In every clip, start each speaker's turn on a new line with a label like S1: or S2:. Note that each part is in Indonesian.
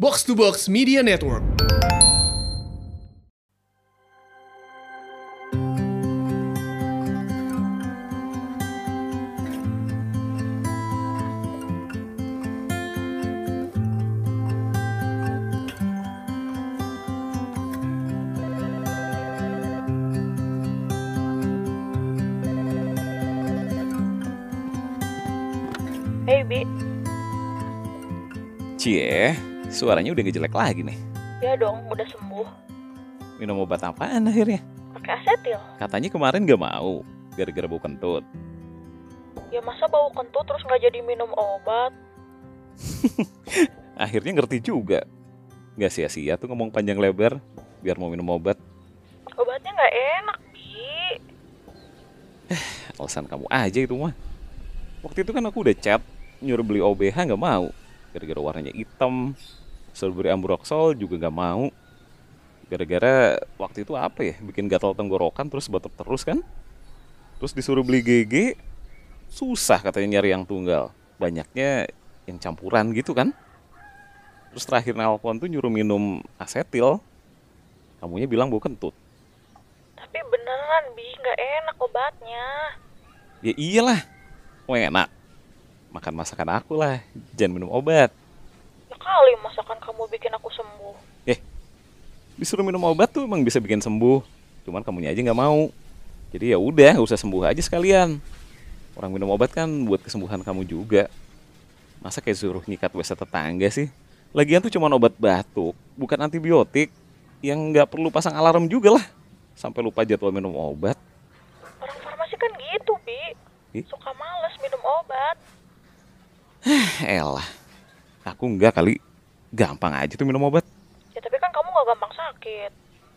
S1: Box to Box Media Network.
S2: Hey Bi,
S3: Cie, suaranya udah gak jelek lagi nih.
S2: ya dong udah sembuh.
S3: Minum obat apaan akhirnya?
S2: Pakai asetil.
S3: Katanya kemarin gak mau, gara-gara bau kentut.
S2: Ya masa bau kentut terus nggak jadi minum obat?
S3: Akhirnya ngerti juga. Gak sia-sia tuh ngomong panjang lebar, biar mau minum obat.
S2: Obatnya nggak enak, Bi.
S3: Alasan kamu aja itu mah. Waktu itu kan aku udah chat, nyuruh beli OBH gak mau. Gara-gara warnanya hitam, suruh beli amburoxol juga gak mau. Gara-gara waktu itu apa ya, bikin gatal tenggorokan terus batuk terus kan? Terus disuruh beli GG, susah katanya nyari yang tunggal. Banyaknya yang campuran gitu kan? Terus terakhir nelpon tuh nyuruh minum asetil. Kamunya bilang bau kentut.
S2: Tapi beneran Bi, nggak enak obatnya.
S3: Ya iyalah, mau yang enak. Makan masakan aku lah, jangan minum obat.
S2: Ya kali masakan kamu bikin aku sembuh.
S3: Disuruh minum obat tuh emang bisa bikin sembuh. Cuman kamunya aja nggak mau. Jadi ya udah, nggak usah sembuh aja sekalian. Orang minum obat kan buat kesembuhan kamu juga. Masa kayak suruh nyikat wc tetangga sih? Lagian tuh cuman obat batuk, bukan antibiotik. Yang nggak perlu pasang alarm juga lah. Sampai lupa jadwal minum obat.
S2: Orang farmasi kan gitu, Bi.
S3: Ih.
S2: Suka males minum obat.
S3: Elah, Eh aku nggak kali. Gampang aja tuh minum obat.
S2: Ya tapi kan kamu nggak gampang sakit.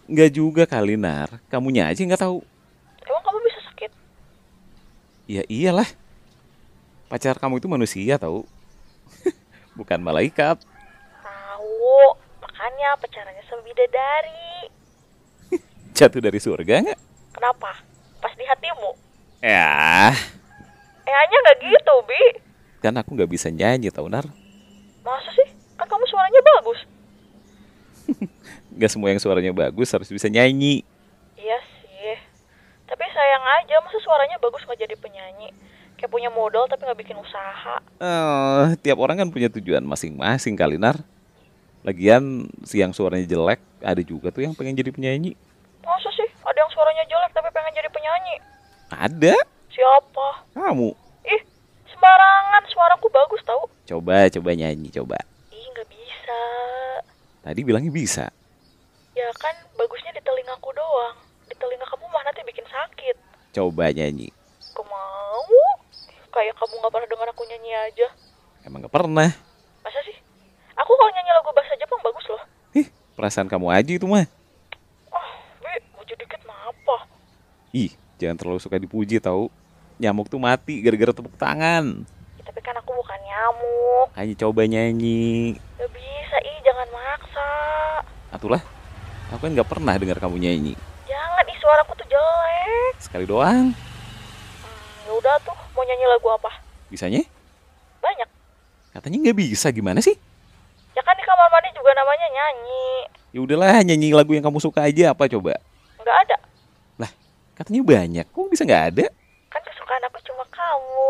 S3: Nggak juga kali, Nar. Kamunya aja nggak tahu.
S2: Emang kamu bisa sakit?
S3: Ya iyalah. Pacar kamu itu manusia tahu. Bukan malaikat.
S2: Tahu. Makanya pacarannya sama bidadari.
S3: Jatuh dari surga nggak?
S2: Kenapa? Pas di hatimu.
S3: Ya,
S2: Eh hanya nggak gitu, Bi.
S3: kan aku nggak bisa nyanyi tahu, Nar.
S2: Masa sih? Kan kamu suaranya bagus.
S3: Nggak semua yang suaranya bagus harus bisa nyanyi.
S2: Iya sih. Tapi sayang aja, masa suaranya bagus nggak jadi penyanyi? Kayak punya modal tapi nggak bikin usaha.
S3: Eh, tiap orang kan punya tujuan masing-masing kali, Nar. Lagian siang suaranya jelek, ada juga tuh yang pengen jadi penyanyi.
S2: Masa sih? Ada yang suaranya jelek tapi pengen jadi penyanyi?
S3: Ada?
S2: Siapa?
S3: Kamu.
S2: Ih, sembarangan. Suaraku bagus tau.
S3: Coba, coba nyanyi, coba.
S2: Ih, nggak bisa.
S3: Tadi bilangnya bisa.
S2: Ya kan, bagusnya di telingaku doang. Di telinga kamu mah nanti bikin sakit.
S3: Coba nyanyi.
S2: Aku mau. Kayak kamu nggak pernah dengar aku nyanyi aja.
S3: Emang nggak pernah.
S2: Masa sih? Aku kalau nyanyi lagu bahasa Jepang bagus loh.
S3: Ih, perasaan kamu aja itu mah.
S2: Oh, Bi, maju dikit ngapa?
S3: Ih, jangan terlalu suka dipuji tahu. Nyamuk tuh mati gara-gara tepuk tangan.
S2: Ya, tapi kan aku bukan nyamuk.
S3: Hanya coba nyanyi.
S2: Gak bisa, ih jangan maksa.
S3: Atulah, aku kan nggak pernah dengar kamu nyanyi.
S2: Jangan, ih suaraku tuh jelek.
S3: Sekali doang.
S2: Hmm, ya udah tuh, mau nyanyi lagu apa?
S3: Bisanya?
S2: Banyak.
S3: Katanya nggak bisa, gimana sih?
S2: Ya kan di kamar mandi juga namanya nyanyi.
S3: Ya udahlah, nyanyi lagu yang kamu suka aja apa coba?
S2: Nggak ada.
S3: Katanya banyak, kok bisa nggak ada?
S2: Kan kesukaan aku cuma kamu.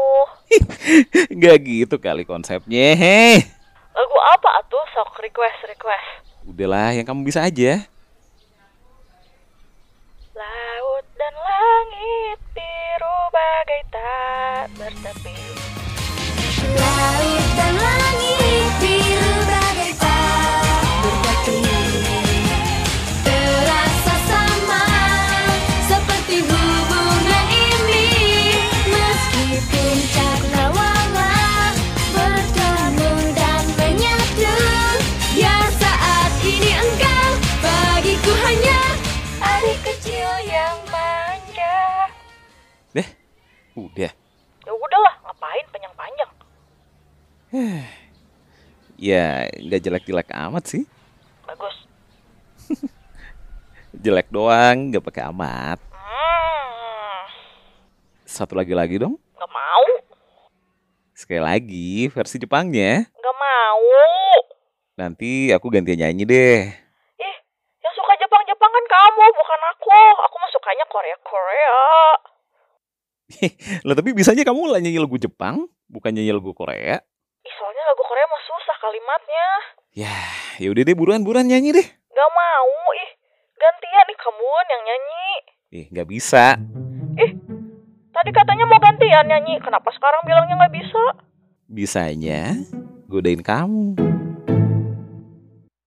S3: Nggak gitu kali konsepnya, heh.
S2: Lagu apa atuh? Sok request, request.
S3: Udahlah, yang kamu bisa aja.
S2: Laut dan langit biru bagai tak bertepi.
S4: Laut dan langit biru bagai tak berkati Terasa sama seperti hubungan ini Meskipun tak lawala bertemu dan menyatu Ya saat ini engkau bagiku hanya adik kecil yang
S2: Manja.
S3: Deh, udah.
S2: Ya udahlah, ngapain panjang-panjang?
S3: Ya, nggak jelek-jelek amat sih.
S2: Bagus.
S3: Jelek doang, nggak pakai amat.
S2: Hmm,
S3: Satu lagi lagi dong.
S2: nggak mau.
S3: Sekali lagi, versi Jepangnya.
S2: Nggak mau.
S3: Nanti aku gantian nyanyi deh.
S2: Ih, yang suka Jepang-Jepang kan kamu, bukan aku. Aku mah sukanya Korea-Korea.
S3: Lah tapi bisanya kamu lah nyanyi lagu Jepang, bukan nyanyi lagu Korea.
S2: Ih, soalnya lagu Korea mah susah kalimatnya.
S3: Ya, ya udah deh buruan-buruan nyanyi deh.
S2: Gak mau, ih. Gantian nih kamu yang nyanyi.
S3: Eh, nggak bisa.
S2: Tadi katanya mau gantian nyanyi, kenapa sekarang bilangnya nggak bisa?
S3: Bisanya godain kamu.